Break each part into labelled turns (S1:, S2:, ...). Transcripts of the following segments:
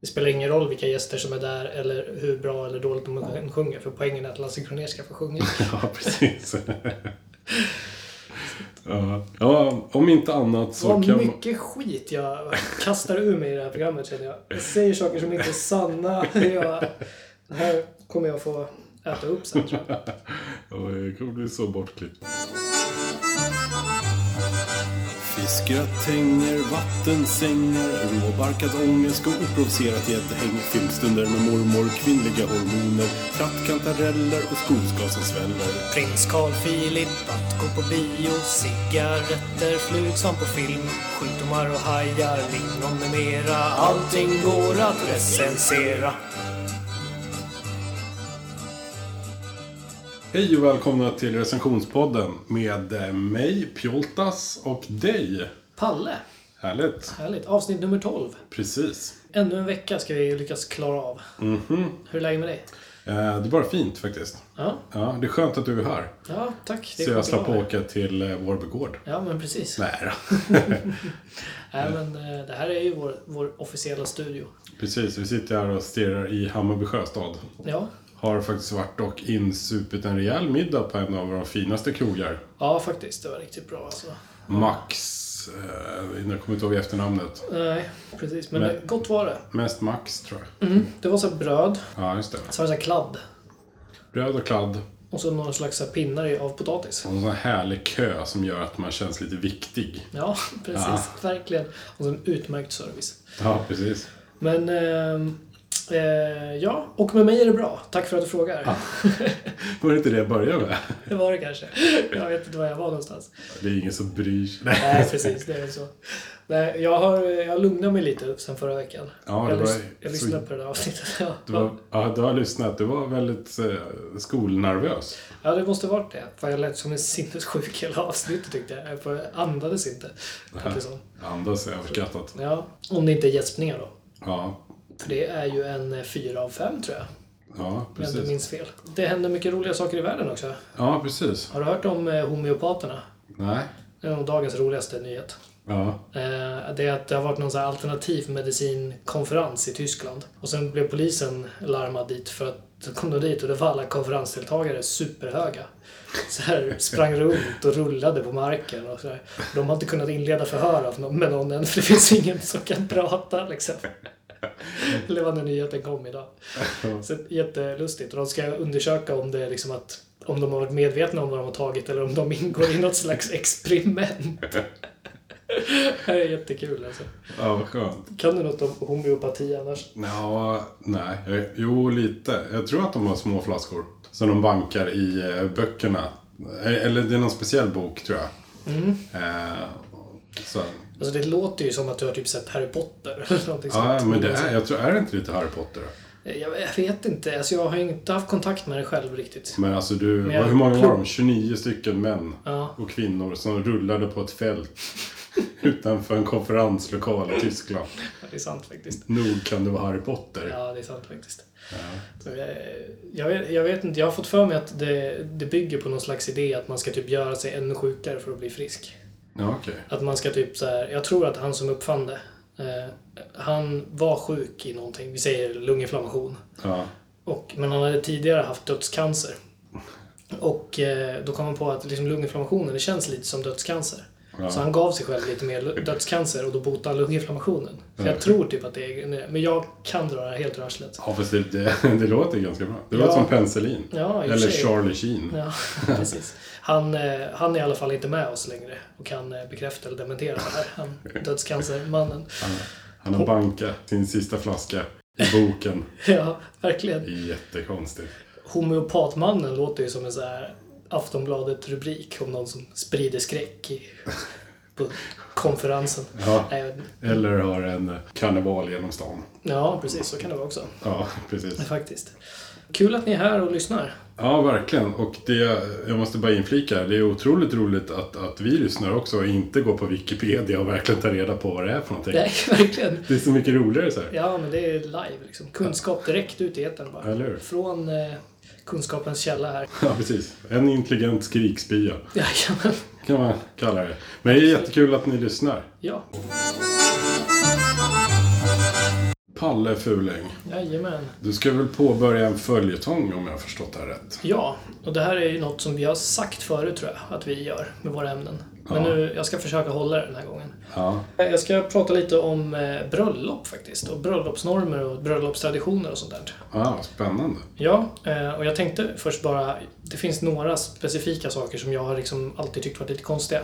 S1: Det spelar ingen roll vilka gäster som är där eller hur bra eller dåligt de sjunger för poängen är att Lasse Kronér ska få sjunga.
S2: Ja, precis. ja. ja, om inte annat så
S1: Vad
S2: kan man...
S1: mycket skit jag kastar ur mig i det här programmet känner jag. Jag säger saker som inte är sanna. Jag, det här kommer jag få äta upp sen tror jag.
S2: Ja, det kommer bli så bortklippt. Fiskgratänger, vattensängar, råbarkad ångest och oprovocerat gäddhäng. Filmstunder med mormor, kvinnliga hormoner, trattkantareller och skogsgas som sväller.
S3: Prins Carl Philip att gå på bio Cigaretter flug som på film Sjukdomar och hajar, lingon med mera Allting går att recensera
S2: Hej och välkomna till recensionspodden med eh, mig, Pjoltas, och dig.
S1: Palle,
S2: Härligt.
S1: härligt. Avsnitt nummer 12.
S2: Precis.
S1: Ännu en vecka ska vi lyckas klara av.
S2: Mhm.
S1: Hur är läget med dig?
S2: Eh, Det var fint faktiskt.
S1: Ja,
S2: Ja, det är skönt att du är här.
S1: ja tack. Det
S2: Så
S1: går
S2: jag slapp
S1: bra.
S2: åka till eh, Vårby gård.
S1: Ja, men precis.
S2: Nej då.
S1: Nej, men eh, det här är ju vår, vår officiella studio.
S2: Precis, vi sitter här och stirrar i Hammarby sjöstad.
S1: Ja,
S2: Har faktiskt varit och insupit en rejäl middag på en av våra finaste krogar.
S1: ja faktiskt. Det var riktigt bra alltså.
S2: Max, eh, jag kommer inte ihåg efternamnet.
S1: Nej, precis. Men, eh,
S2: Men- Mm.
S1: gott var det.
S2: Mest Max tror jag.
S1: Det var så här bröd,
S2: Ja, just det.
S1: så var det så här kladd
S2: Bröd och kladd.
S1: och så någon slags så här pinnar i- av potatis.
S2: Och en sån här härlig kö som gör att man känns lite viktig.
S1: Ja, precis.
S2: Ah.
S1: Verkligen. Och så en utmärkt service.
S2: Ja, precis.
S1: Men, ehm, eh, ja. Och med mig är det bra. Tack för att du frågar.
S2: Ah. Var det inte det jag började med?
S1: Det var det kanske. Jag vet inte var jag var någonstans.
S2: Det är ingen som bryr sig. Nej.
S1: Nej, precis. Det är väl så. Nej, jag har jag lugnat mig lite sen förra veckan.
S2: Ja, det
S1: jag,
S2: var-
S1: lys- jag
S2: så-
S1: lyssnade på det där avsnittet. Ja.
S2: Du, var, ja, du har lyssnat. Du var väldigt eh, skolnervös.
S1: ja, det måste varit det. För jag lät som en sinnessjuk hela avsnittet tyckte jag. Jag får- andades inte. lät det som.
S2: Andas är överskattat.
S1: Ja, om det inte är gäspningar då.
S2: Ja,
S1: För det är ju en eh, fyra av fem tror jag.
S2: ja
S1: Om jag inte
S2: precis.
S1: minns fel. Det händer mycket roliga saker i världen också.
S2: Ja, precis.
S1: Har du hört om eh, homeopaterna?
S2: Nej.
S1: Det är nog dagens roligaste nyhet.
S2: Ja,
S1: Eh, Det är att det har varit någon så här alternativ medicinkonferens i Tyskland. Och sen blev polisen larmad dit för att så kom de dit och det var alla konferensdeltagare superhöga. Så här sprang runt och rullade på marken och så här. De har inte kunnat inleda förhör av någon- med någon än för det finns ingen som kan prata liksom. Eller vad den nyheten kom idag. Så jättelustigt. Och de ska undersöka om det är liksom att om de har varit medvetna om vad de har tagit eller om de ingår i något slags experiment. Det här är jättekul alltså.
S2: ja vad skönt.
S1: Kan du något om homeopati annars?
S2: Ja, nej. Eh, Jo, lite. Jag tror att de har små flaskor. Som de bankar i eh, böckerna. Eh, Eller det är någon speciell bok, tror jag. Eh, så.
S1: Alltså det låter ju som att du har typ sett Harry Potter eller någonting
S2: Ja,
S1: sånt.
S2: men det är, jag tror, är det inte lite Harry Potter?
S1: Jag, jag vet inte. Alltså jag har ju inte haft kontakt med det själv riktigt.
S2: Men alltså du,
S1: Men jag-
S2: hur många var de? 29 stycken män
S1: Ja.
S2: och kvinnor som rullade på ett fält utanför en konferenslokal i Tyskland.
S1: Det är sant faktiskt.
S2: Nog kan det vara Harry Potter.
S1: Ja, det är sant faktiskt. Så, eh, Jag vet, jag vet inte. Jag har fått för mig att det, det bygger på någon slags idé att man ska typ göra sig ännu sjukare för att bli frisk.
S2: Ja, okej.
S1: Att man ska typ så här, jag tror att han som uppfann det, eh, han var sjuk i någonting, vi säger lunginflammation.
S2: Ja.
S1: Och, men han hade tidigare haft dödscancer. Och eh, då kom han på att liksom, lunginflammationen, det känns lite som dödscancer.
S2: Ja.
S1: Så han gav sig själv lite mer lu- dödscancer och då botade han lunginflammationen. Så
S2: Ja.
S1: jag tror typ att det är Men jag kan dra det här helt ur arslet.
S2: Ja, fast det, det, det låter ganska bra. Det låter
S1: Ja.
S2: som penicillin.
S1: Ja, i och för
S2: Eller
S1: sig.
S2: Charlie Sheen.
S1: Ja, precis. Han, eh, han är i alla fall inte med oss längre och kan eh, bekräfta eller dementera det här. Han, dödscancermannen.
S2: Han har bankat sin sista flaska i boken.
S1: Ja, verkligen.
S2: Det är jättekonstigt.
S1: Homeopatmannen låter ju som en så här Aftonbladet-rubrik om någon som sprider skräck i, på konferensen.
S2: Ja.
S1: Nej, jag vet inte.
S2: Eller har en eh, karneval genom stan.
S1: ja, precis. Så kan det vara också.
S2: Ja, precis.
S1: Faktiskt. Kul att ni är här och lyssnar.
S2: Ja, verkligen. Och det, jag måste bara inflika, det är otroligt roligt att, att vi lyssnar också och inte går på Wikipedia och verkligen tar reda på vad det är för någonting.
S1: Nej, verkligen.
S2: Det är så mycket roligare så här.
S1: Ja, men det är live liksom. Kunskap direkt ut i etern bara.
S2: Eller hur?
S1: Från eh, kunskapens källa här.
S2: Ja, precis. En intelligent skrikspya,
S1: Jajamän.
S2: kan man kalla det. Men det är jättekul att ni lyssnar.
S1: Ja.
S2: Palle Fuling,
S1: Jajamän.
S2: du ska väl påbörja en följetong om jag har förstått det här rätt?
S1: Ja, och det här är ju något som vi har sagt förut tror jag att vi gör med våra ämnen. Men
S2: Ja.
S1: nu, jag ska försöka hålla det den här gången.
S2: Ja.
S1: Eh, Jag ska prata lite om eh, bröllop faktiskt. Och bröllopsnormer och bröllopstraditioner och sånt där.
S2: Ah, spännande.
S1: Ja, eh, och jag tänkte först bara, det finns några specifika saker som jag har liksom alltid tyckt varit lite konstiga.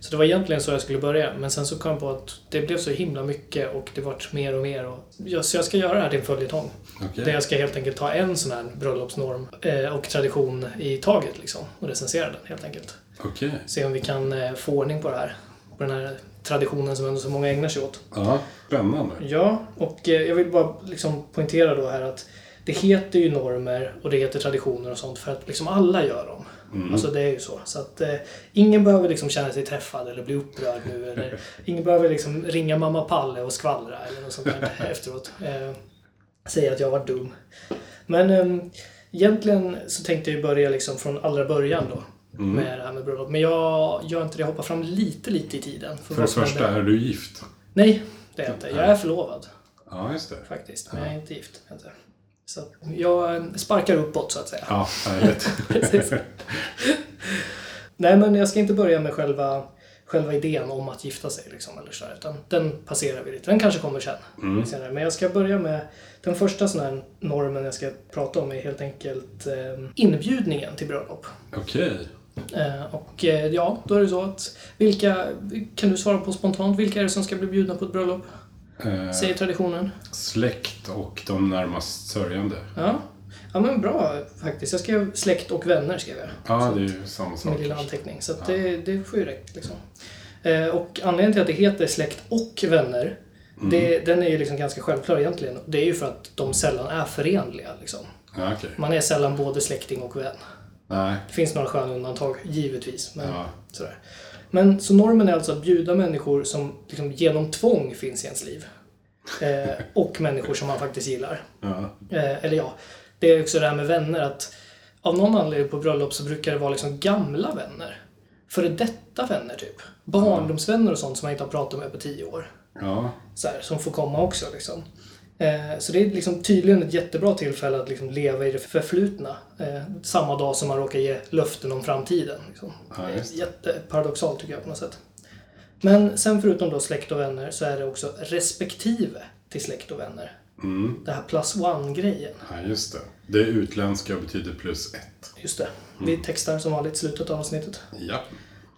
S1: Så det var egentligen så jag skulle börja, men sen så kom jag på att det blev så himla mycket och det vart mer och mer. Och, ja, så jag ska göra det här till en följetong.
S2: Okej.
S1: Där jag ska helt enkelt ta en sån här bröllopsnorm eh, och tradition i taget liksom och recensera den helt enkelt.
S2: Okej.
S1: Se om vi kan eh, få ordning på det här. På den här traditionen som ändå så många ägnar sig åt.
S2: Ja, spännande.
S1: Ja, och eh, jag vill bara liksom poängtera då här att det heter ju normer och det heter traditioner och sånt för att liksom alla gör dem.
S2: Mm.
S1: Alltså det är ju så. Så att eh, ingen behöver liksom känna sig träffad eller bli upprörd nu. Eller, ingen behöver liksom ringa mamma Palle och skvallra eller något sånt där efteråt. Eh, säga att jag var dum. Men eh, egentligen så tänkte jag ju börja liksom från allra början då.
S2: Mm.
S1: Med det här med bröllop. Men jag gör inte det. Jag hoppar fram lite, lite i tiden.
S2: För det
S1: vad som
S2: första,
S1: händer.
S2: är du gift?
S1: Nej, det är jag inte. Jag är förlovad
S2: Ja, just det.
S1: faktiskt. Men jag är inte gift. Jag är Inte. Så att jag sparkar uppåt så att säga.
S2: Ja, härligt.
S1: Precis. Nej, men jag ska inte börja med själva, själva idén om att gifta sig. Liksom, eller så här, utan den passerar vi lite. Den kanske kommer sen.
S2: Mm.
S1: Senare. Men jag ska börja med den första sån här normen jag ska prata om är helt enkelt eh, inbjudningen till bröllop.
S2: Okej.
S1: Eh, och eh, ja, då är det så att vilka, kan du svara på spontant, vilka är det som ska bli bjudna på ett bröllop?
S2: Eh,
S1: Säger traditionen.
S2: släkt och de närmast sörjande.
S1: Ja. ja, men bra faktiskt. Jag skrev släkt och vänner. Skrev jag.
S2: Ja, det är ju samma
S1: Som
S2: sak.
S1: en lilla anteckning. Så att det, det får ju räckt. Liksom. Eh, och anledningen till att det heter släkt och vänner,
S2: Mm.
S1: det, den är ju liksom ganska självklar egentligen. Det är ju för att de sällan är förenliga. Liksom.
S2: Ja, okej.
S1: Man är sällan både släkting och vän.
S2: Nej.
S1: Det finns några sköna undantag, givetvis. Men,
S2: Ja.
S1: sådär. men så normen är alltså att bjuda människor som liksom, genom tvång finns i ens liv. Eh, och människor som man faktiskt gillar.
S2: Ja.
S1: Eh, eller ja, det är också det här med vänner att av någon anledning på bröllop så brukar det vara liksom gamla vänner. Före detta vänner typ. Barndomsvänner och sånt som man inte har pratat med på tio år.
S2: Ja.
S1: Så här, som får komma också liksom. Eh, så det är liksom tydligen ett jättebra tillfälle att liksom leva i det förflutna. Eh, samma dag som man råkar ge löften om framtiden. Liksom.
S2: Ja, just det.
S1: Jätteparadoxalt tycker jag på något sätt. Men sen förutom då släkt och vänner så är det också respektive till släkt och vänner.
S2: Mm.
S1: Det här plus one-grejen.
S2: Ja, just det. Det utländska betyder plus ett.
S1: Just det. Vi textar som vanligt slutet av avsnittet.
S2: Ja.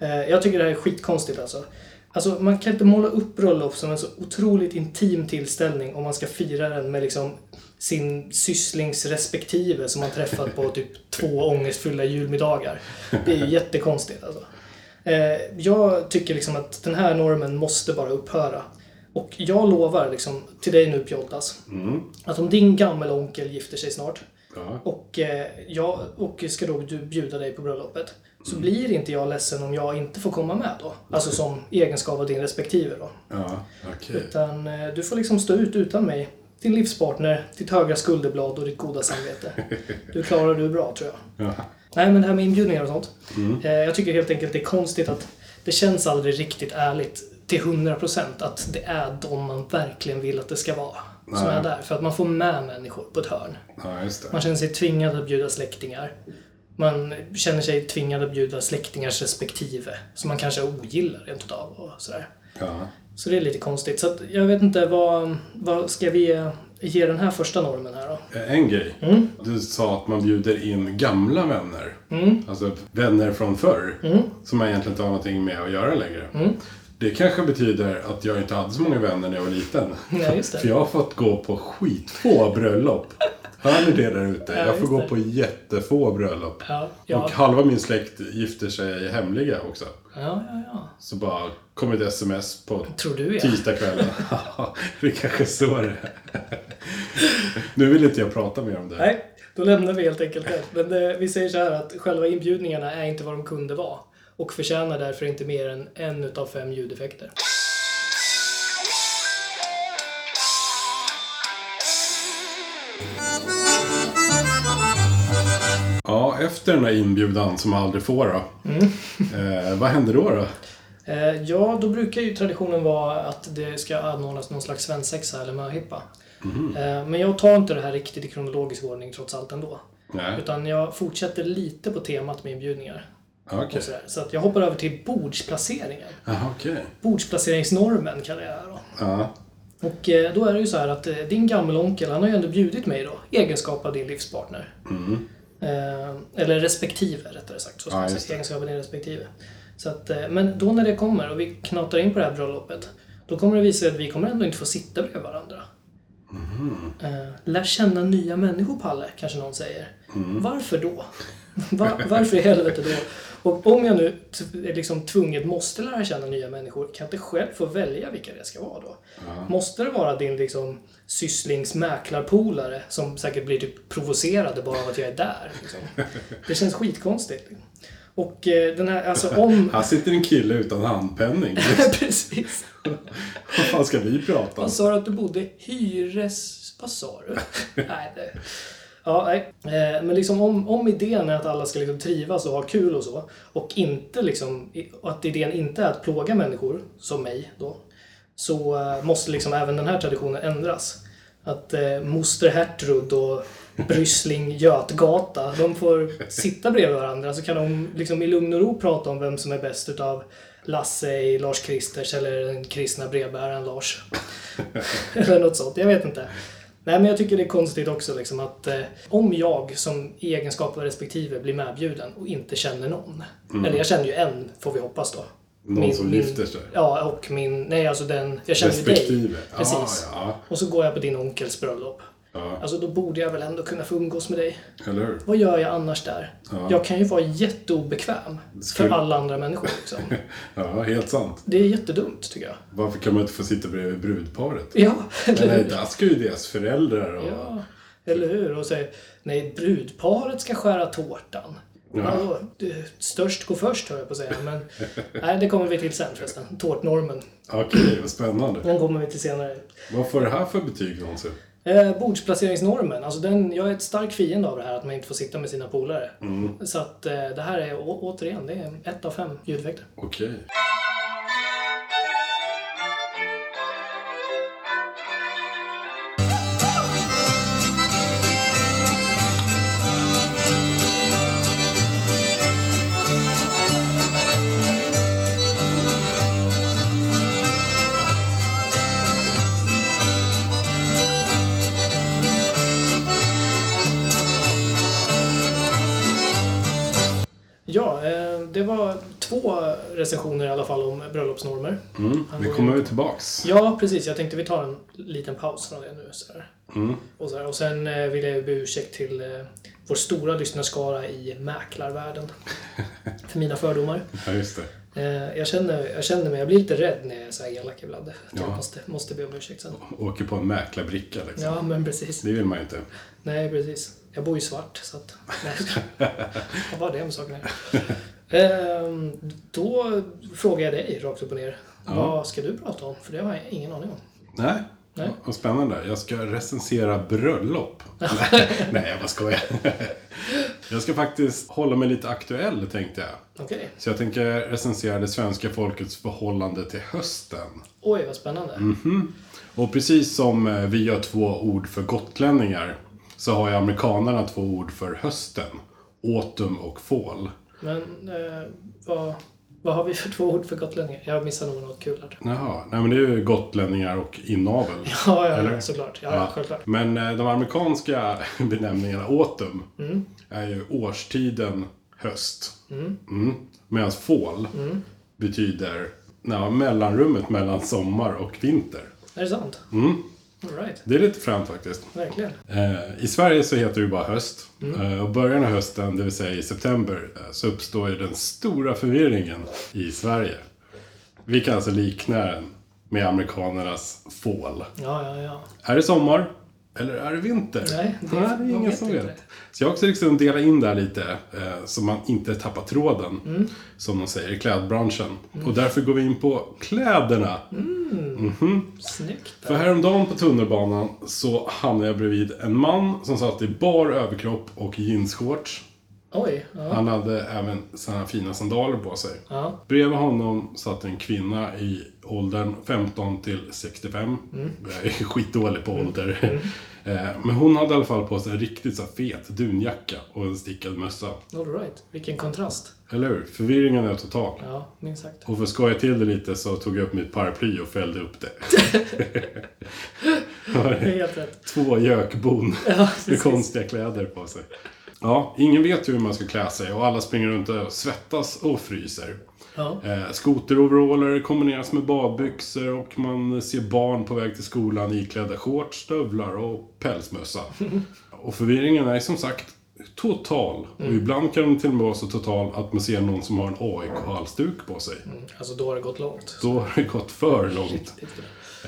S1: Eh, jag tycker det här är skitkonstigt alltså. Alltså man kan inte måla upp bröllop som en så otroligt intim tillställning om man ska fira den med liksom sin sysslings respektive som man träffat på typ två ångestfyllda julmiddagar. Det är ju jättekonstigt alltså. Eh, jag tycker liksom att den här normen måste bara upphöra. Och jag lovar liksom till dig nu Pjoltas,
S2: Mm.
S1: att om din gammelonkel gifter sig snart
S2: Ja.
S1: och, eh, jag, och ska då du bjuda dig på bröllopet. Så blir inte jag ledsen om jag inte får komma med då. Alltså som egenskap av din respektive då.
S2: Ja, okej.
S1: Utan eh, du får liksom stå ut utan mig. Din livspartner, ditt högra skulderblad och ditt goda samvete. Du klarar du bra tror jag.
S2: Ja.
S1: Nej men det här med inbjudningar och sånt. Eh, jag tycker helt enkelt det är konstigt att det känns aldrig riktigt ärligt till 100% att det är de man verkligen vill att det ska vara. Som
S2: Nej.
S1: är där. För att man får med människor på ett hörn.
S2: ja, just det.
S1: Man känner sig tvingad att bjuda släktingar. Man känner sig tvingad att bjuda släktingars respektive, som man kanske ogillar rent utav och sådär.
S2: Ja.
S1: Så det är lite konstigt. Så att jag vet inte, vad, vad ska vi eh, ge den här första normen här då?
S2: Eh, En grej.
S1: Mm.
S2: Du sa att man bjuder in gamla vänner.
S1: Mm.
S2: Alltså vänner från förr. Som man egentligen inte har någonting med att göra längre.
S1: Mm.
S2: Det kanske betyder att jag inte hade så många vänner när jag var liten.
S1: Ja, just det.
S2: För jag har fått gå på skitfå bröllop. Hör ni det där ute? jag får
S1: just
S2: gå
S1: det.
S2: på jättefå bröllop.
S1: Ja, ja,
S2: Och halva min släkt gifter sig hemliga också.
S1: ja, ja, ja.
S2: Så bara kom ett sms på
S1: Tror du ja.
S2: tisdagskvällen. Ja, det är kanske så det är. Nu vill inte jag prata mer om det.
S1: Nej, då lämnar vi helt enkelt det. Men eh, vi säger så här att själva inbjudningarna är inte vad de kunde vara. Och förtjänar därför inte mer än en utav fem ljudeffekter.
S2: Ja, efter den där inbjudan som man aldrig får då.
S1: Mm.
S2: Eh, vad händer då då?
S1: Eh, Ja, då brukar ju traditionen vara att det ska anordnas någon slags svensexa eller möhippa.
S2: Mhm.
S1: Eh, Men jag tar inte det här riktigt i kronologisk ordning trots allt ändå.
S2: Nej,
S1: Utan jag fortsätter lite på temat med inbjudningar.
S2: okej.
S1: Och sådär. Så att jag hoppar över till bordsplaceringen.
S2: Jaha, okej.
S1: Bordsplaceringsnormen kallar jag det här då.
S2: Ja.
S1: Och eh, då är det ju så här att eh, din gammelonkel, han har ju ändå bjudit mig då, i egenskap av din livspartner.
S2: mm.
S1: Eh, eller respektive, rättare sagt. Så ska
S2: Ja,
S1: man
S2: just det.
S1: säga. Egenskap av din respektive. Så att, eh, men då när det kommer och vi knatar in på det här bröllopet, då kommer det visa sig att vi kommer ändå inte få sitta bredvid varandra.
S2: Mhm.
S1: Eh, lär känna nya människor, Palle, kanske någon säger.
S2: Mm.
S1: Varför då? Va- varför i helvete då? Och om jag nu t- är liksom tvunget måste lära känna nya människor, kan jag inte själv få välja vilka det ska vara då? Måste det vara din liksom sysslingsmäklarpolare som säkert blir typ provocerade bara av att jag är där? Liksom. Det känns skitkonstigt. Och eh, den här, alltså om...
S2: Här sitter en kille utan handpenning.
S1: Precis.
S2: Vad fan ska vi prata om?
S1: Vad sa du att du bodde? Hyres... Vad sa du? nej, det... Ja, nej. Eh, Men liksom om, om idén är att alla ska liksom trivas och ha kul och så och inte liksom, i- och att idén inte är att plåga människor, som mig då, så eh, måste liksom även den här traditionen ändras. Att eh, moster Hertrud och Bryssling Götgata, de får sitta bredvid varandra så kan de liksom i lugn och ro prata om vem som är bäst utav Lasse i Lars Kristers eller den kristna brevbäraren Lars. Eller något sånt, jag vet inte. Nej men jag tycker det är konstigt också liksom att eh, om jag som i egenskap av respektive blir medbjuden och inte känner någon. Eller jag känner ju en, får vi hoppas då.
S2: Mm. Någon som gifter sig.
S1: Ja, och min... Nej, alltså den... Jag känner ju dig.
S2: Respektive. Ah,
S1: Precis.
S2: Ja, ja.
S1: Och så går jag på din onkels bröllop.
S2: Ja,
S1: Alltså då borde jag väl ändå kunna få umgås med dig.
S2: eller hur?
S1: Vad gör jag annars där?
S2: Ja.
S1: Jag kan ju vara jätteobekväm för
S2: Skulle-
S1: alla andra människor. Liksom.
S2: Ja, helt sant.
S1: Det är jättedumt tycker jag.
S2: Varför kan man inte få sitta bredvid brudparet?
S1: Ja, eller
S2: Eller
S1: hur?
S2: där ska ju deras föräldrar och...
S1: Ja, eller hur? Och säger nej, brudparet ska skära tårtan.
S2: Ja.
S1: Vadå? Du, störst går först hör jag på att säga. Men nej, det kommer vi till sen förresten. Tårtnormen.
S2: Okej, vad spännande.
S1: Den kommer vi till senare.
S2: Vad får det här för betyg någonsin?
S1: Eh, bordsplaceringsnormen. Alltså den, jag är ett stark fiende av det här att man inte får sitta med sina polare. Så att eh, det här är å- återigen, det är ett av fem ljudeffekter.
S2: Okej.
S1: Ja, eh, det var två recensioner i alla fall om bröllopsnormer.
S2: Mm, vi kommer väl tillbaks.
S1: Ja, precis. Jag tänkte vi tar en liten paus från det nu. Så här. Och, så här. och sen eh, vill jag be ursäkt till eh, vår stora lyssnarskara i mäklarvärlden. för mina fördomar.
S2: Ja, just det.
S1: Eh, jag, känner, jag känner mig, jag blir lite rädd när jag är så här elak ibland. Jag
S2: Ja.
S1: måste, måste be om ursäkt sen.
S2: Åker på en mäklarbricka liksom.
S1: Ja, men precis.
S2: Det vill man ju inte.
S1: Nej, precis. Jag bor ju svart, så att... Nej. Vad var det med saken här? Ehm, då frågar jag dig rakt upp och ner. Vad ska du prata om? För det har jag ingen aning om.
S2: Nej.
S1: Nej.
S2: Vad spännande. Jag ska recensera bröllop. Nej, jag bara skojar. Jag ska faktiskt hålla mig lite aktuell, tänkte jag.
S1: Okej.
S2: Så jag tänker recensera det svenska folkets förhållande till hösten.
S1: Oj, vad spännande.
S2: Och precis som eh, vi har två ord för gotlänningar så har ju amerikanerna två ord för hösten. Autumn och fall.
S1: Men eh, vad, vad har vi för två ord för gotlänningar? Jag missar nog något kul här.
S2: Jaha, nej men det är ju gotlänningar och inavel.
S1: Ja, ja,
S2: Eller?
S1: ja såklart. Ja,
S2: Ja.
S1: självklart.
S2: Men eh, de amerikanska benämningarna autumn
S1: Mm.
S2: är ju årstiden höst. Mm. Medan fall
S1: Mm.
S2: betyder ja, mellanrummet mellan sommar och vinter.
S1: Är det sant?
S2: Mm.
S1: All right.
S2: Det är lite fränt faktiskt.
S1: Verkligen.
S2: Eh, I Sverige så heter det ju bara höst.
S1: Mm.
S2: Eh, och början av hösten, det vill säga i september, eh, så uppstår ju den stora förvirringen i Sverige. Vi kan alltså likna den med amerikanernas fall.
S1: Ja, ja, ja.
S2: Är det sommar? Eller är det vinter?
S1: Nej, det-
S2: det, är
S1: man
S2: ingen
S1: vet
S2: som
S1: inte
S2: vet.
S1: det.
S2: Så jag har också liksom delat in det här lite, eh, så man inte tappar tråden.
S1: Mm.
S2: Som de säger i klädbranschen. Och därför går vi in på kläderna.
S1: Mm. Snyggt.
S2: För häromdagen på tunnelbanan så hamnade jag bredvid en man som satt i bar överkropp och jeansshorts.
S1: Oj. Ja.
S2: Han hade även sina fina sandaler på sig.
S1: Ja.
S2: Bredvid honom satt en kvinna i åldern 15 till 65.
S1: Mm.
S2: Jag är skitdålig på ålder. Eh, Men hon hade i alla fall på sig en riktigt så här fet dunjacka och en stickad mössa.
S1: All right. Vilken kontrast.
S2: Eller hur? Förvirringen är total.
S1: Ja, minst sagt.
S2: Och för att skoja till det lite så tog jag upp mitt paraply och fällde upp det. Var det
S1: Helt rätt.
S2: Två gökbon
S1: Ja,
S2: med
S1: precis.
S2: konstiga kläder på sig. Ja, ingen vet hur man ska klä sig och alla springer runt och svettas och fryser.
S1: Ja.
S2: Eh, Skoteroveraller kombineras med badbyxor och man ser barn på väg till skolan iklädda shorts, stövlar och pälsmössa. Och förvirringen är som sagt total. Och ibland kan den till och med vara så total att man ser någon som har en AIK-halsduk på sig.
S1: Mm, Alltså, då har det gått långt.
S2: Då har det gått för långt.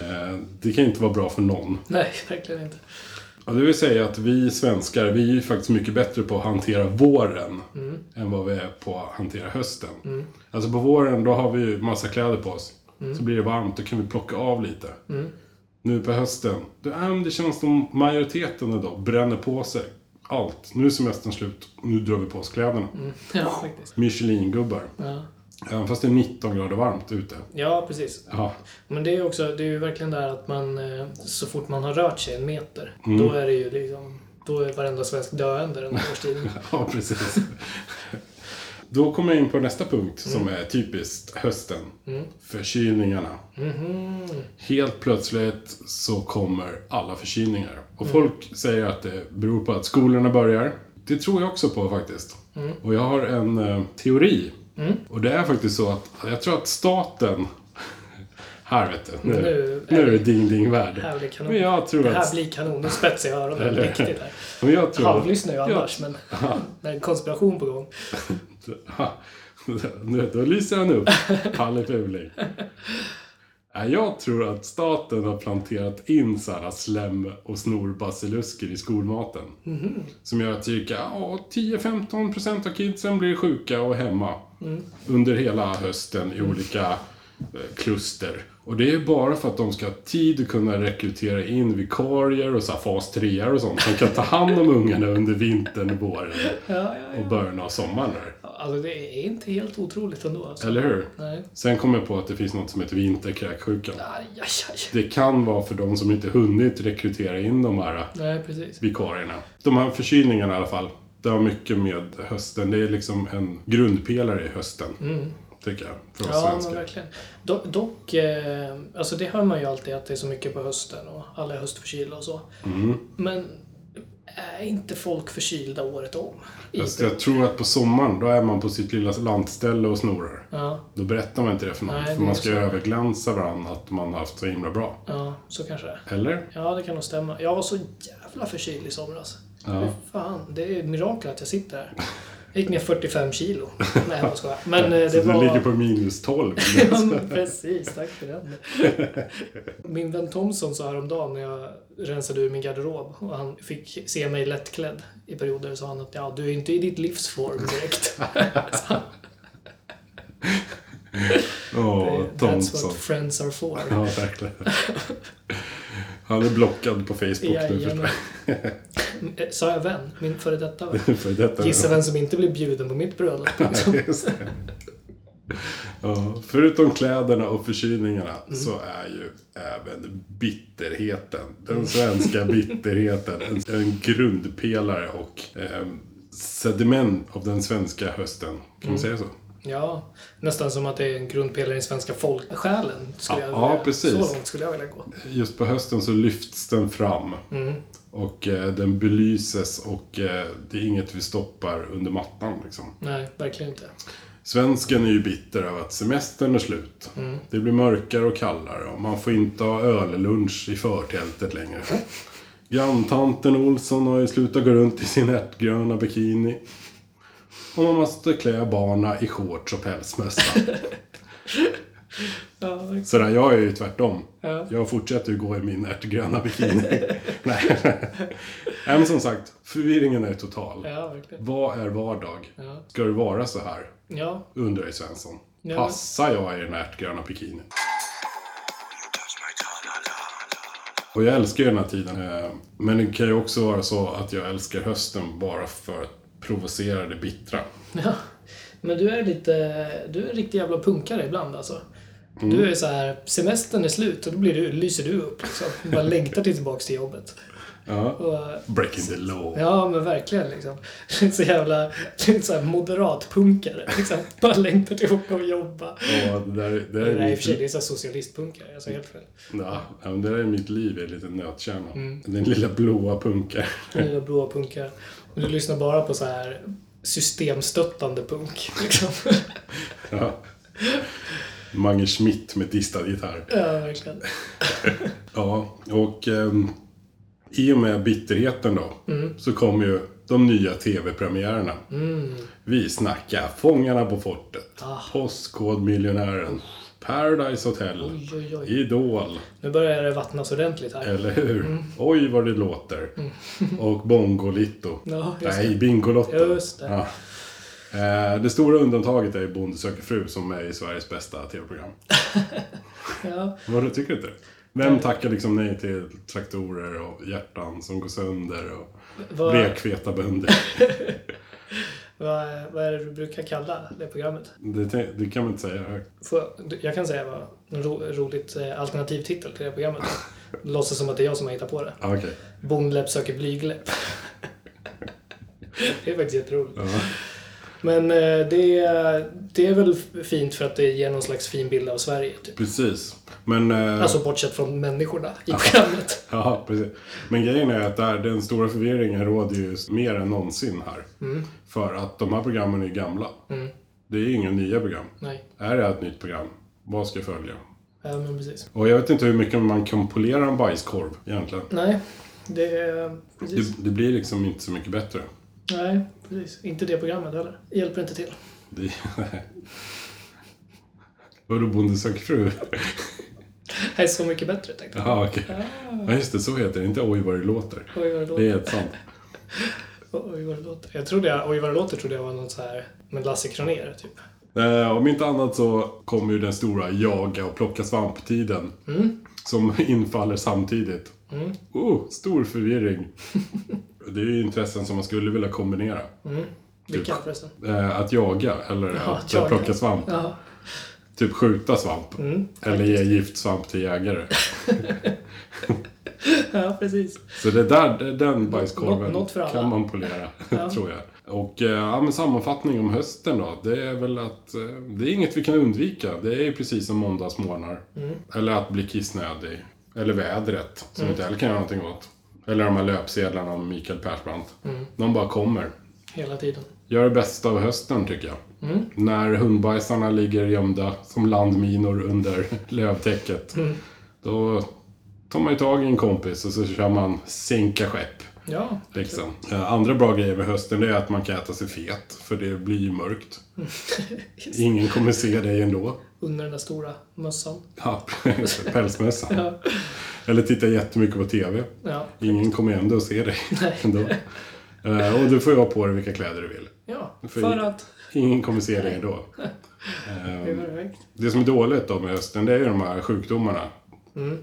S2: Eh, Det kan inte vara bra för någon.
S1: Nej, verkligen inte.
S2: Ja, det vill säga att vi svenskar, vi är ju faktiskt mycket bättre på att hantera våren än vad vi är på att hantera hösten. Alltså på våren, då har vi ju massa kläder på oss. Så blir det varmt, då kan vi plocka av lite. Nu på hösten, då, äh, men det känns som majoriteten idag bränner på sig allt. Nu är semestern slut, nu drar vi på oss kläderna.
S1: Mm, Ja, faktiskt.
S2: Michelin-gubbar.
S1: Ja.
S2: Även fast det är 19 grader varmt ute.
S1: ja, precis.
S2: Ja,
S1: Men det är, också, det är ju verkligen där att man, eh, så fort man har rört sig en meter,
S2: Mm.
S1: då är det ju liksom, då är varenda svensk döende den här årstiden.
S2: Ja, precis. Då kommer jag in på nästa punkt som
S1: Mm.
S2: är typiskt hösten. Förkylningarna.
S1: Mm-hmm.
S2: Helt plötsligt så kommer alla förkylningar. Och
S1: Mm.
S2: folk säger att det beror på att skolorna börjar. Det tror jag också på faktiskt.
S1: Mm.
S2: Och jag har en eh, teori. Och det är faktiskt så att jag tror att staten... Här vet du, nu,
S1: Nu är
S2: nu är
S1: vi-
S2: det ding-ding-värld.
S1: Här blir kanon.
S2: Men jag tror
S1: Det
S2: att...
S1: här blir kanon. Nu spetsar jag öronen
S2: Eller-
S1: riktigt här.
S2: men jag tror att
S1: Halvlyssnar ju annars, men det är en konspiration på gång.
S2: Ha, nu- Då lyser han upp, Palle Puling. Nej, Jag tror att staten har planterat in så här slem och snorbasilusker i skolmaten.
S1: Mhm.
S2: Som gör att cirka ja, 10-15% av kidsen blir sjuka och hemma.
S1: Mm.
S2: Under hela hösten i olika eh, kluster. Och det är bara för att de ska ha tid att kunna rekrytera in vikarier och så här fas 3 och sånt. Som kan ta hand om ungarna under vintern och våren.
S1: Ja, ja,
S2: Och början av sommaren där.
S1: ja. Alltså, det är inte helt otroligt ändå. Alltså.
S2: Eller hur?
S1: Nej.
S2: Sen kom jag på att det finns något som heter vinterkräksjukan.
S1: Aj, aj, aj.
S2: Det kan vara för de som inte hunnit rekrytera in de här
S1: Nej, precis.
S2: vikarierna. De här förkylningarna i alla fall, det har mycket med hösten. Det är liksom en grundpelare i hösten. Tycker jag, för oss
S1: Mm. Ja, men
S2: svenskar.
S1: verkligen. Do dock, eh, alltså det hör man ju alltid att det är så mycket på hösten och alla är höstförkylda och så.
S2: Mm.
S1: Men är inte folk förkylda året om? I-
S2: Fast jag tror att på sommaren, då är man på sitt lilla lantställe och snorar.
S1: Ja,
S2: Då berättar man inte det för någon,
S1: Nej,
S2: för
S1: det är
S2: man ska
S1: så.
S2: överglänsa varandra att man har haft så himla bra.
S1: ja, så kanske det är.
S2: Eller?
S1: Ja, det kan nog stämma. Jag var så jävla förkyld i somras.
S2: Ja.
S1: Fy Fan, det är ett mirakel att jag sitter här. Jag gick ner 45 kilo. Nej, jag skojar. Men eh,
S2: Så
S1: det
S2: du ligger
S1: var...
S2: på minus 12.
S1: Ja, men Precis, tack för den. Min vän Thomson sa häromdagen när jag rensade ur min garderob och han fick se mig lättklädd i perioder sa han att ja, du är inte i ditt livs form direkt.
S2: Åh,
S1: That's
S2: Thompson.
S1: what friends are for.
S2: Ja, verkligen. Han är blockad på Facebook nu förstår
S1: Jajamän. Eh, Sa jag vän? Min före detta vän?
S2: jag. För detta
S1: Gissa vem som inte blev bjuden på mitt bröllop.
S2: Nej, just det. Ja, förutom kläderna och förkylningarna
S1: Mm.
S2: så är ju även bitterheten, den svenska bitterheten, en, en grundpelare och eh, sediment av den svenska hösten. Kan
S1: Mm.
S2: man säga så?
S1: Ja, nästan som att det är en grundpelare i den svenska folksjälen. Skulle jag
S2: Ja,
S1: vilja.
S2: ja, precis.
S1: Så långt skulle jag vilja gå.
S2: Just på hösten så lyfts den fram
S1: Mm.
S2: och eh, den belyses och eh, det är inget vi stoppar under mattan liksom.
S1: Nej, verkligen inte.
S2: Svensken är ju bitter över att semestern är slut.
S1: Mm.
S2: Det blir mörkare och kallare och man får inte ha öllunch i förtältet längre. Granntanten Olsson har ju slutat gå runt i sin ärtgröna bikini. Och man måste klä barna i shorts och pälsmössa.
S1: Ja, verkligen.
S2: Sådär, jag är ju tvärtom.
S1: Ja.
S2: Jag fortsätter ju gå i min ärtgröna bikini. Nej. Nej, men som sagt, förvirringen är total.
S1: Ja, verkligen.
S2: Vad är vardag?
S1: Ja.
S2: Ska det vara så här?
S1: Ja,
S2: Undrar ju Svensson.
S1: Ja.
S2: Passar jag i den ärtgröna bikinin? Och jag älskar ju den här tiden. eh, Men det kan ju också vara så att jag älskar hösten bara för att provocerade, bittra.
S1: Ja. Men du är lite... Du är en riktig jävla punkare ibland alltså.
S2: Mm.
S1: Du är så här, semestern är slut och då blir du, lyser du upp liksom. Bara längtar till tillbaks till jobbet.
S2: Ja.
S1: Och,
S2: Breaking the law.
S1: ja, men verkligen liksom. Så jävla... Lite så här moderatpunkare. Liksom. Bara längtar till att åka och jobba.
S2: Ja, det där, det där
S1: Det där
S2: är
S1: i och för sig, det
S2: mitt,
S1: är så här socialistpunkare. Jag sa helt fel.
S2: ja, ja, men det där är mitt liv i en liten nötkärna. Den lilla blåa punkaren.
S1: Nya blåa punkare. Och du lyssnar bara på så här systemstöttande punk. Liksom.
S2: Ja. Mange Schmidt med distad gitarr.
S1: ja, verkligen.
S2: Ja, och ehm, i och med bitterheten då
S1: Mm.
S2: så kom ju de nya tv-premiärerna. Vi snackar Fångarna på fortet,
S1: Ah.
S2: Postkodmiljonären, Paradise Hotel,
S1: Oj, oj, oj.
S2: Idol,
S1: Nu börjar det vattnas ordentligt här.
S2: eller hur?
S1: Mm.
S2: Oj vad det låter. Och Bongolitto.
S1: Ja, just
S2: Nej, Bingolotto.
S1: Just det.
S2: Ja. Eh, Det stora undantaget är ju Bonde söker fru som är i Sveriges bästa tv-program.
S1: Ja,
S2: Vad tycker du inte? Vem tackar liksom nej till traktorer och hjärtan som går sönder och
S1: vad,
S2: blekfeta bönder?
S1: vad, vad är det du brukar kalla det programmet?
S2: Det, te- det kan man inte säga högt.
S1: Får, jag- jag kan säga vad en ro, roligt eh, alternativ titel till det programmet Låtsas som att det är jag som har hittat på det.
S2: Ah, Okej.
S1: Bondläpp söker blygläpp. det är faktiskt jätteroligt. Men eh, det, det är väl fint för att det ger någon slags fin bild av Sverige. Typ.
S2: Precis. Men, eh,
S1: Alltså bortsett från människorna i programmet.
S2: ja, precis. Men grejen är att där, den stora förvirringen råder ju mer än någonsin här. För att de här programmen är ju gamla. Det är ju inga nya program.
S1: Mm, Nej,
S2: Är det här ett nytt program? Vad ska jag följa?
S1: ja, men precis.
S2: Och jag vet inte hur mycket man kan polera en bajskorv egentligen.
S1: Nej, det... Precis.
S2: Det, det blir liksom inte så mycket bättre.
S1: Nej, precis. Inte det programmet heller. Hjälper inte till.
S2: Det... Vadå Bonde söker fru?
S1: Det är så mycket bättre tänkte jag.
S2: Jaha, okej. Ja, just det. Så heter det. Inte Oj vad det låter.
S1: Oj vad det
S2: Det är
S1: låter.
S2: helt sant.
S1: Oj vad det låter. Jag trodde jag, oj vad det låter trodde jag var något så här med Lasse Kronér typ.
S2: Eh, om inte annat så kommer ju den stora jaga och plocka svamp-tiden. Som infaller samtidigt. Oh, stor förvirring. det är ju intressen som man skulle vilja kombinera.
S1: Vilka förresten?
S2: Eh, att jaga eller att
S1: jaga.
S2: plocka svamp.
S1: Ja.
S2: Typ skjuta svamp. eller ge gift svamp till jägare.
S1: ja, precis.
S2: Så det där, den
S1: Något-
S2: bajskorven
S1: något för alla.
S2: kan man polera, tror jag. Och eh, ja, men sammanfattning om hösten då. Det är väl att eh, det är inget vi kan undvika. Det är ju precis som måndagsmorgnar.
S1: Mm.
S2: Eller att bli kissnödig. Eller vädret, som inte heller kan göra någonting åt. Eller de här löpsedlarna om Mikael Persbrandt.
S1: Mm.
S2: De bara kommer.
S1: Hela tiden.
S2: Gör det bästa av hösten, tycker jag. När hundbajsarna ligger gömda som landminor under lövtäcket. Då tar man ju tag i en kompis och så kör man sänka skepp.
S1: Ja,
S2: Liksom. Eh, Andra bra grejer med hösten det är att man kan äta sig fet, för det blir ju mörkt. Ingen kommer se dig ändå.
S1: under den där stora mössan.
S2: Ja, Pälsmössan.
S1: Ja.
S2: Eller titta jättemycket på TV.
S1: Ja.
S2: Ingen kommer ändå att se dig ändå. Eh, Och du får ju ha på dig vilka kläder du vill.
S1: ja.
S2: För-
S1: För att...
S2: Ingen kommer se dig ändå. Eh,
S1: Det är perfekt.
S2: Det som är dåligt då med hösten, det är ju de här sjukdomarna.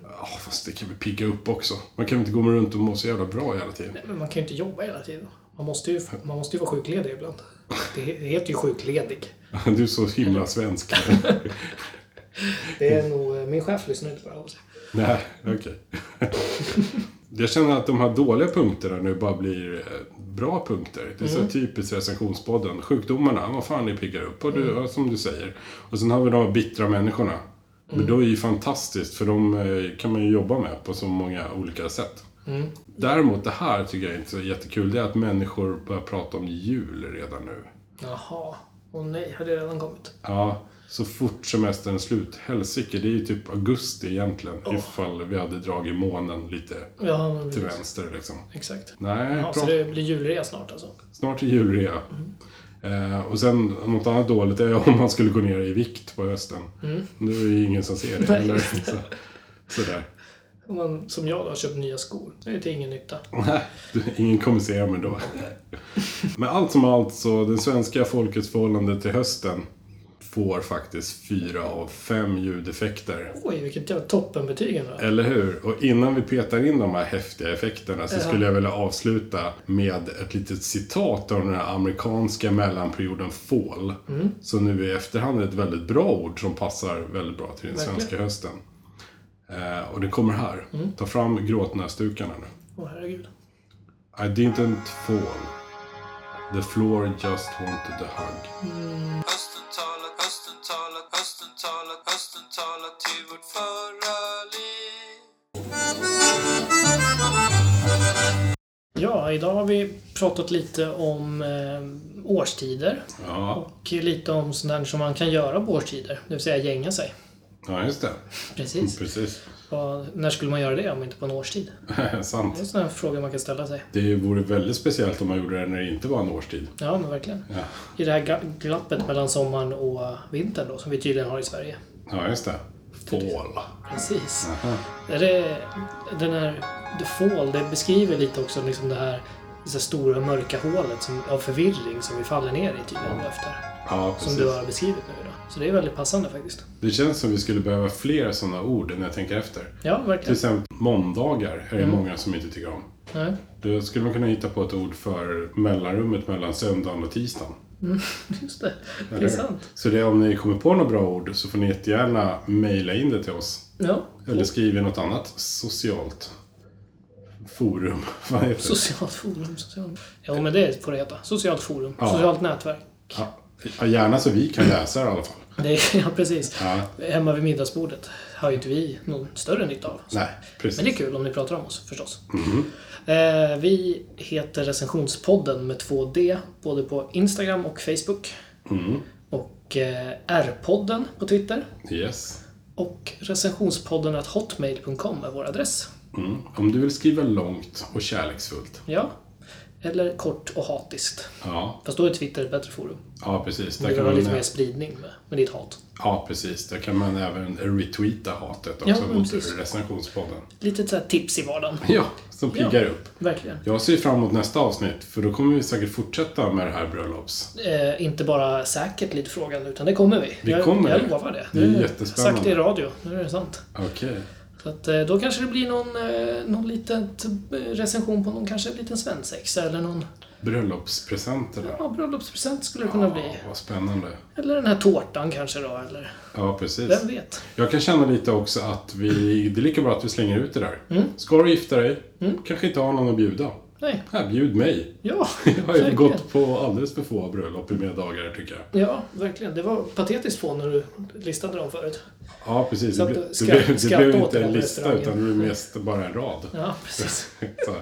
S2: Ja, fast det kan vi pigga upp också. Man kan väl inte gå runt och må så jävla bra hela tiden.
S1: Men man kan ju inte jobba hela tiden. Man måste ju, man måste ju vara sjukledig ibland. Det heter ju sjukledig.
S2: Du är så himla svensk.
S1: Det är nog... eh, Min chef lyssnar inte på det här. alltså.
S2: Nej, okej. Jag känner att de här dåliga punkterna nu bara blir eh, bra punkter. Det är så typiskt recensionspodden. Sjukdomarna, vad fan det piggar upp. Och du, ja, som du säger. Och sen har vi de här bittra människorna. Men då är det ju fantastiskt, för de eh, kan man ju jobba med på så många olika sätt. Däremot det här tycker jag inte är så jättekul. Det är att människor börjar prata om jul redan nu.
S1: Jaha. Åh nej, har det redan kommit?
S2: Ja, så fort semestern är slut. Helsike, det är ju typ augusti egentligen. Ifall vi hade dragit månen lite
S1: Ja, men
S2: till vänster liksom.
S1: Exakt.
S2: Nej,
S1: Ja, så
S2: prat-
S1: det blir julrea snart alltså?
S2: snart är julrea. Eh, och sen något annat dåligt är om man skulle gå ner i vikt på hösten. Nu är det ju ingen som ser
S1: Mm.
S2: det
S1: Nej.
S2: heller. Så, sådär.
S1: Om man som jag då har köpt nya skor. Det är till ingen nytta.
S2: Mm. Du, Ingen kommer se mig då. Men allt som allt så, det svenska folkets förhållande till hösten får faktiskt fyra av fem ljudeffekter.
S1: Oj, vilket jävla toppenbetyg ändå.
S2: Eller hur? Och innan vi petar in de här häftiga effekterna så
S1: Ja.
S2: skulle jag vilja avsluta med ett litet citat av den här amerikanska mellanperioden fall.
S1: Mm.
S2: Som nu i efterhand är ett väldigt bra ord som passar väldigt bra till
S1: Verkligen.
S2: den
S1: Mm.
S2: svenska hösten. Eh, och det kommer här. Ta fram gråtnäsdukarna nu.
S1: Åh, herregud.
S2: I didn't fall. The floor just wanted a hug.
S4: Hösten talar, hösten talar, hösten talar, hösten talar till vårt förra liv.
S1: Ja, idag har vi pratat lite om eh, årstider
S2: Ja,
S1: och lite om sånt där som man kan göra på årstider, det vill säga gänga sig.
S2: ja just det.
S1: Precis.
S2: Precis.
S1: Och när skulle man göra det om inte på en årstid?
S2: Sant.
S1: Det är en sån här fråga man kan ställa sig.
S2: Det vore väldigt speciellt om man gjorde det när det inte var en årstid.
S1: Ja, men verkligen.
S2: Ja,
S1: I det här gla- glappet mellan sommaren och vintern då, som vi tydligen har i Sverige.
S2: ja just det. Fall.
S1: Precis. Är det, den här The Fall, det beskriver lite också liksom det här, det här stora mörka hålet som, av förvirring som vi faller ner i tydligen efter.
S2: Ja,
S1: Som
S2: precis.
S1: du har beskrivit nu då. Så det är väldigt passande faktiskt.
S2: Det känns som vi skulle behöva fler sådana ord när jag tänker efter.
S1: Ja, Mm.
S2: Till
S1: verkligen.
S2: exempel måndagar är det många som inte tycker om.
S1: Nej.
S2: Då skulle man kunna hitta på ett ord för mellanrummet mellan söndagen och tisdagen.
S1: Just det. Det
S2: Eller
S1: är
S2: hur?
S1: sant.
S2: Så det, om ni kommer på några bra ord så får ni jättegärna mejla in det till oss.
S1: Ja.
S2: Eller skriv i något annat socialt forum. Vad heter det?
S1: Socialt forum. Social... Ja, men det får det heta. Socialt forum.
S2: Ja.
S1: Socialt nätverk.
S2: Ja, gärna så vi kan läsa det i alla fall.
S1: Det är, ja, precis.
S2: Ja,
S1: Hemma vid middagsbordet har ju inte vi någon större nytta av. Så.
S2: nej, precis.
S1: Men det är kul om ni pratar om oss förstås. Eh, vi heter Recensionspodden med 2D både på Instagram och Facebook. Och eh, R-podden på Twitter.
S2: Yes.
S1: Och recensionspodden at hotmail.com är vår adress.
S2: Mm. Om du vill skriva långt och kärleksfullt.
S1: Ja. Eller kort och hatiskt.
S2: Ja,
S1: Fast då är Twitter ett bättre forum.
S2: ja precis.
S1: Det
S2: Där
S1: vill
S2: kan
S1: ha
S2: man,
S1: lite mer spridning med, med ditt hat.
S2: ja, precis. Där kan man även retweeta hatet
S1: Ja,
S2: också
S1: men
S2: mot
S1: precis.
S2: recensionspodden.
S1: Lite så här tips i vardagen.
S2: Ja, som piggar upp.
S1: Verkligen.
S2: Jag ser fram emot nästa avsnitt, för då kommer vi säkert fortsätta med det här bröllops.
S1: Eh, inte bara säkert lite frågan, utan det kommer vi.
S2: Vi
S1: jag,
S2: kommer
S1: jag
S2: det.
S1: lovar det.
S2: Det är
S1: Nu har jag
S2: jättespännande.
S1: Sagt det i radio, nu är det sant.
S2: Okej.
S1: Så att, eh, då kanske det blir någon, eh, någon liten t- recension på någon kanske liten svensexa eller någon
S2: Bröllopspresenterna.
S1: ja, bröllopspresent skulle det kunna
S2: Ja,
S1: bli.
S2: vad spännande.
S1: Eller den här tårtan kanske då, eller
S2: Ja, precis.
S1: vem vet?
S2: Jag kan känna lite också att vi, det är lika bra att vi slänger ut det där.
S1: Mm.
S2: Ska du gifta dig? Kanske inte har någon att bjuda.
S1: Nej,
S2: Här, bjud mig.
S1: ja.
S2: Jag har ju
S1: verkligen.
S2: gått på alldeles för få bröllop i mina dagar, tycker jag.
S1: Ja, verkligen. Det var patetiskt få när du listade dem förut.
S2: Ja, precis.
S1: Så
S2: Det,
S1: att
S2: ble, det,
S1: skratt-
S2: blev, det
S1: skratta
S2: blev
S1: åt
S2: inte
S1: den
S2: en
S1: här
S2: lista,
S1: restaurangen.
S2: utan det blev mest bara en rad.
S1: Ja, precis.
S2: Så,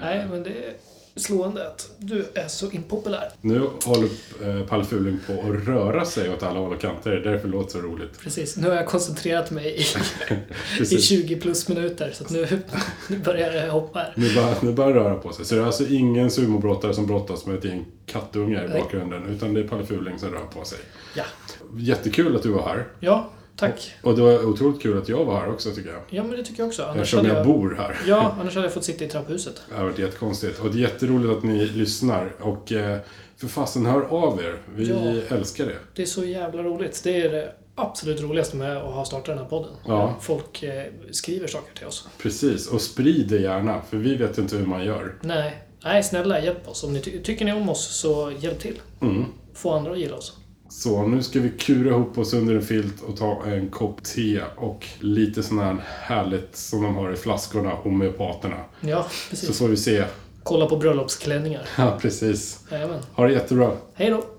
S1: Nej, men det är slående att du är så impopulär.
S2: nu håller eh, Palle Fuling på att röra sig åt alla håll och kanter. Det är därför det låter så roligt.
S1: Precis, nu har jag koncentrerat mig i, i
S2: Precis.
S1: 20 plus minuter så att nu, nu börjar det hoppa här.
S2: Nu bara, nu bara röra på sig. Så det är alltså ingen sumobrottare som brottas med ett gäng kattungar i
S1: Nej.
S2: bakgrunden, utan det är Palle Fuling som rör på sig.
S1: Ja,
S2: Jättekul att du var här.
S1: ja tack.
S2: Och det var otroligt kul att jag var här också, tycker jag.
S1: Ja, men det tycker jag också. Annars
S2: Eftersom
S1: hade
S2: jag bor här.
S1: Ja, annars hade jag fått sitta i trapphuset.
S2: Det har varit jättekonstigt. Och det är jätteroligt att ni lyssnar. Och eh, för fasen, hör av er. Vi
S1: Ja.
S2: älskar det.
S1: Det är så jävla roligt. Det är det absolut roligaste med att ha startat den här podden.
S2: Ja.
S1: Folk eh, skriver saker till oss.
S2: Precis. Och sprid det gärna, för vi vet inte hur man gör.
S1: Nej, nej snälla hjälp oss. Om ni ty- tycker ni om oss så hjälp till.
S2: Mm.
S1: Få andra att gilla oss.
S2: Så nu ska vi kura ihop oss under en filt och ta en kopp te och lite sån här härligt som de har i flaskorna, homeopaterna.
S1: Ja,
S2: Så
S1: precis.
S2: får vi se.
S1: Kolla på bröllopsklänningar.
S2: Ja, precis.
S1: Jajamän.
S2: Ha det jättebra.
S1: Hej då!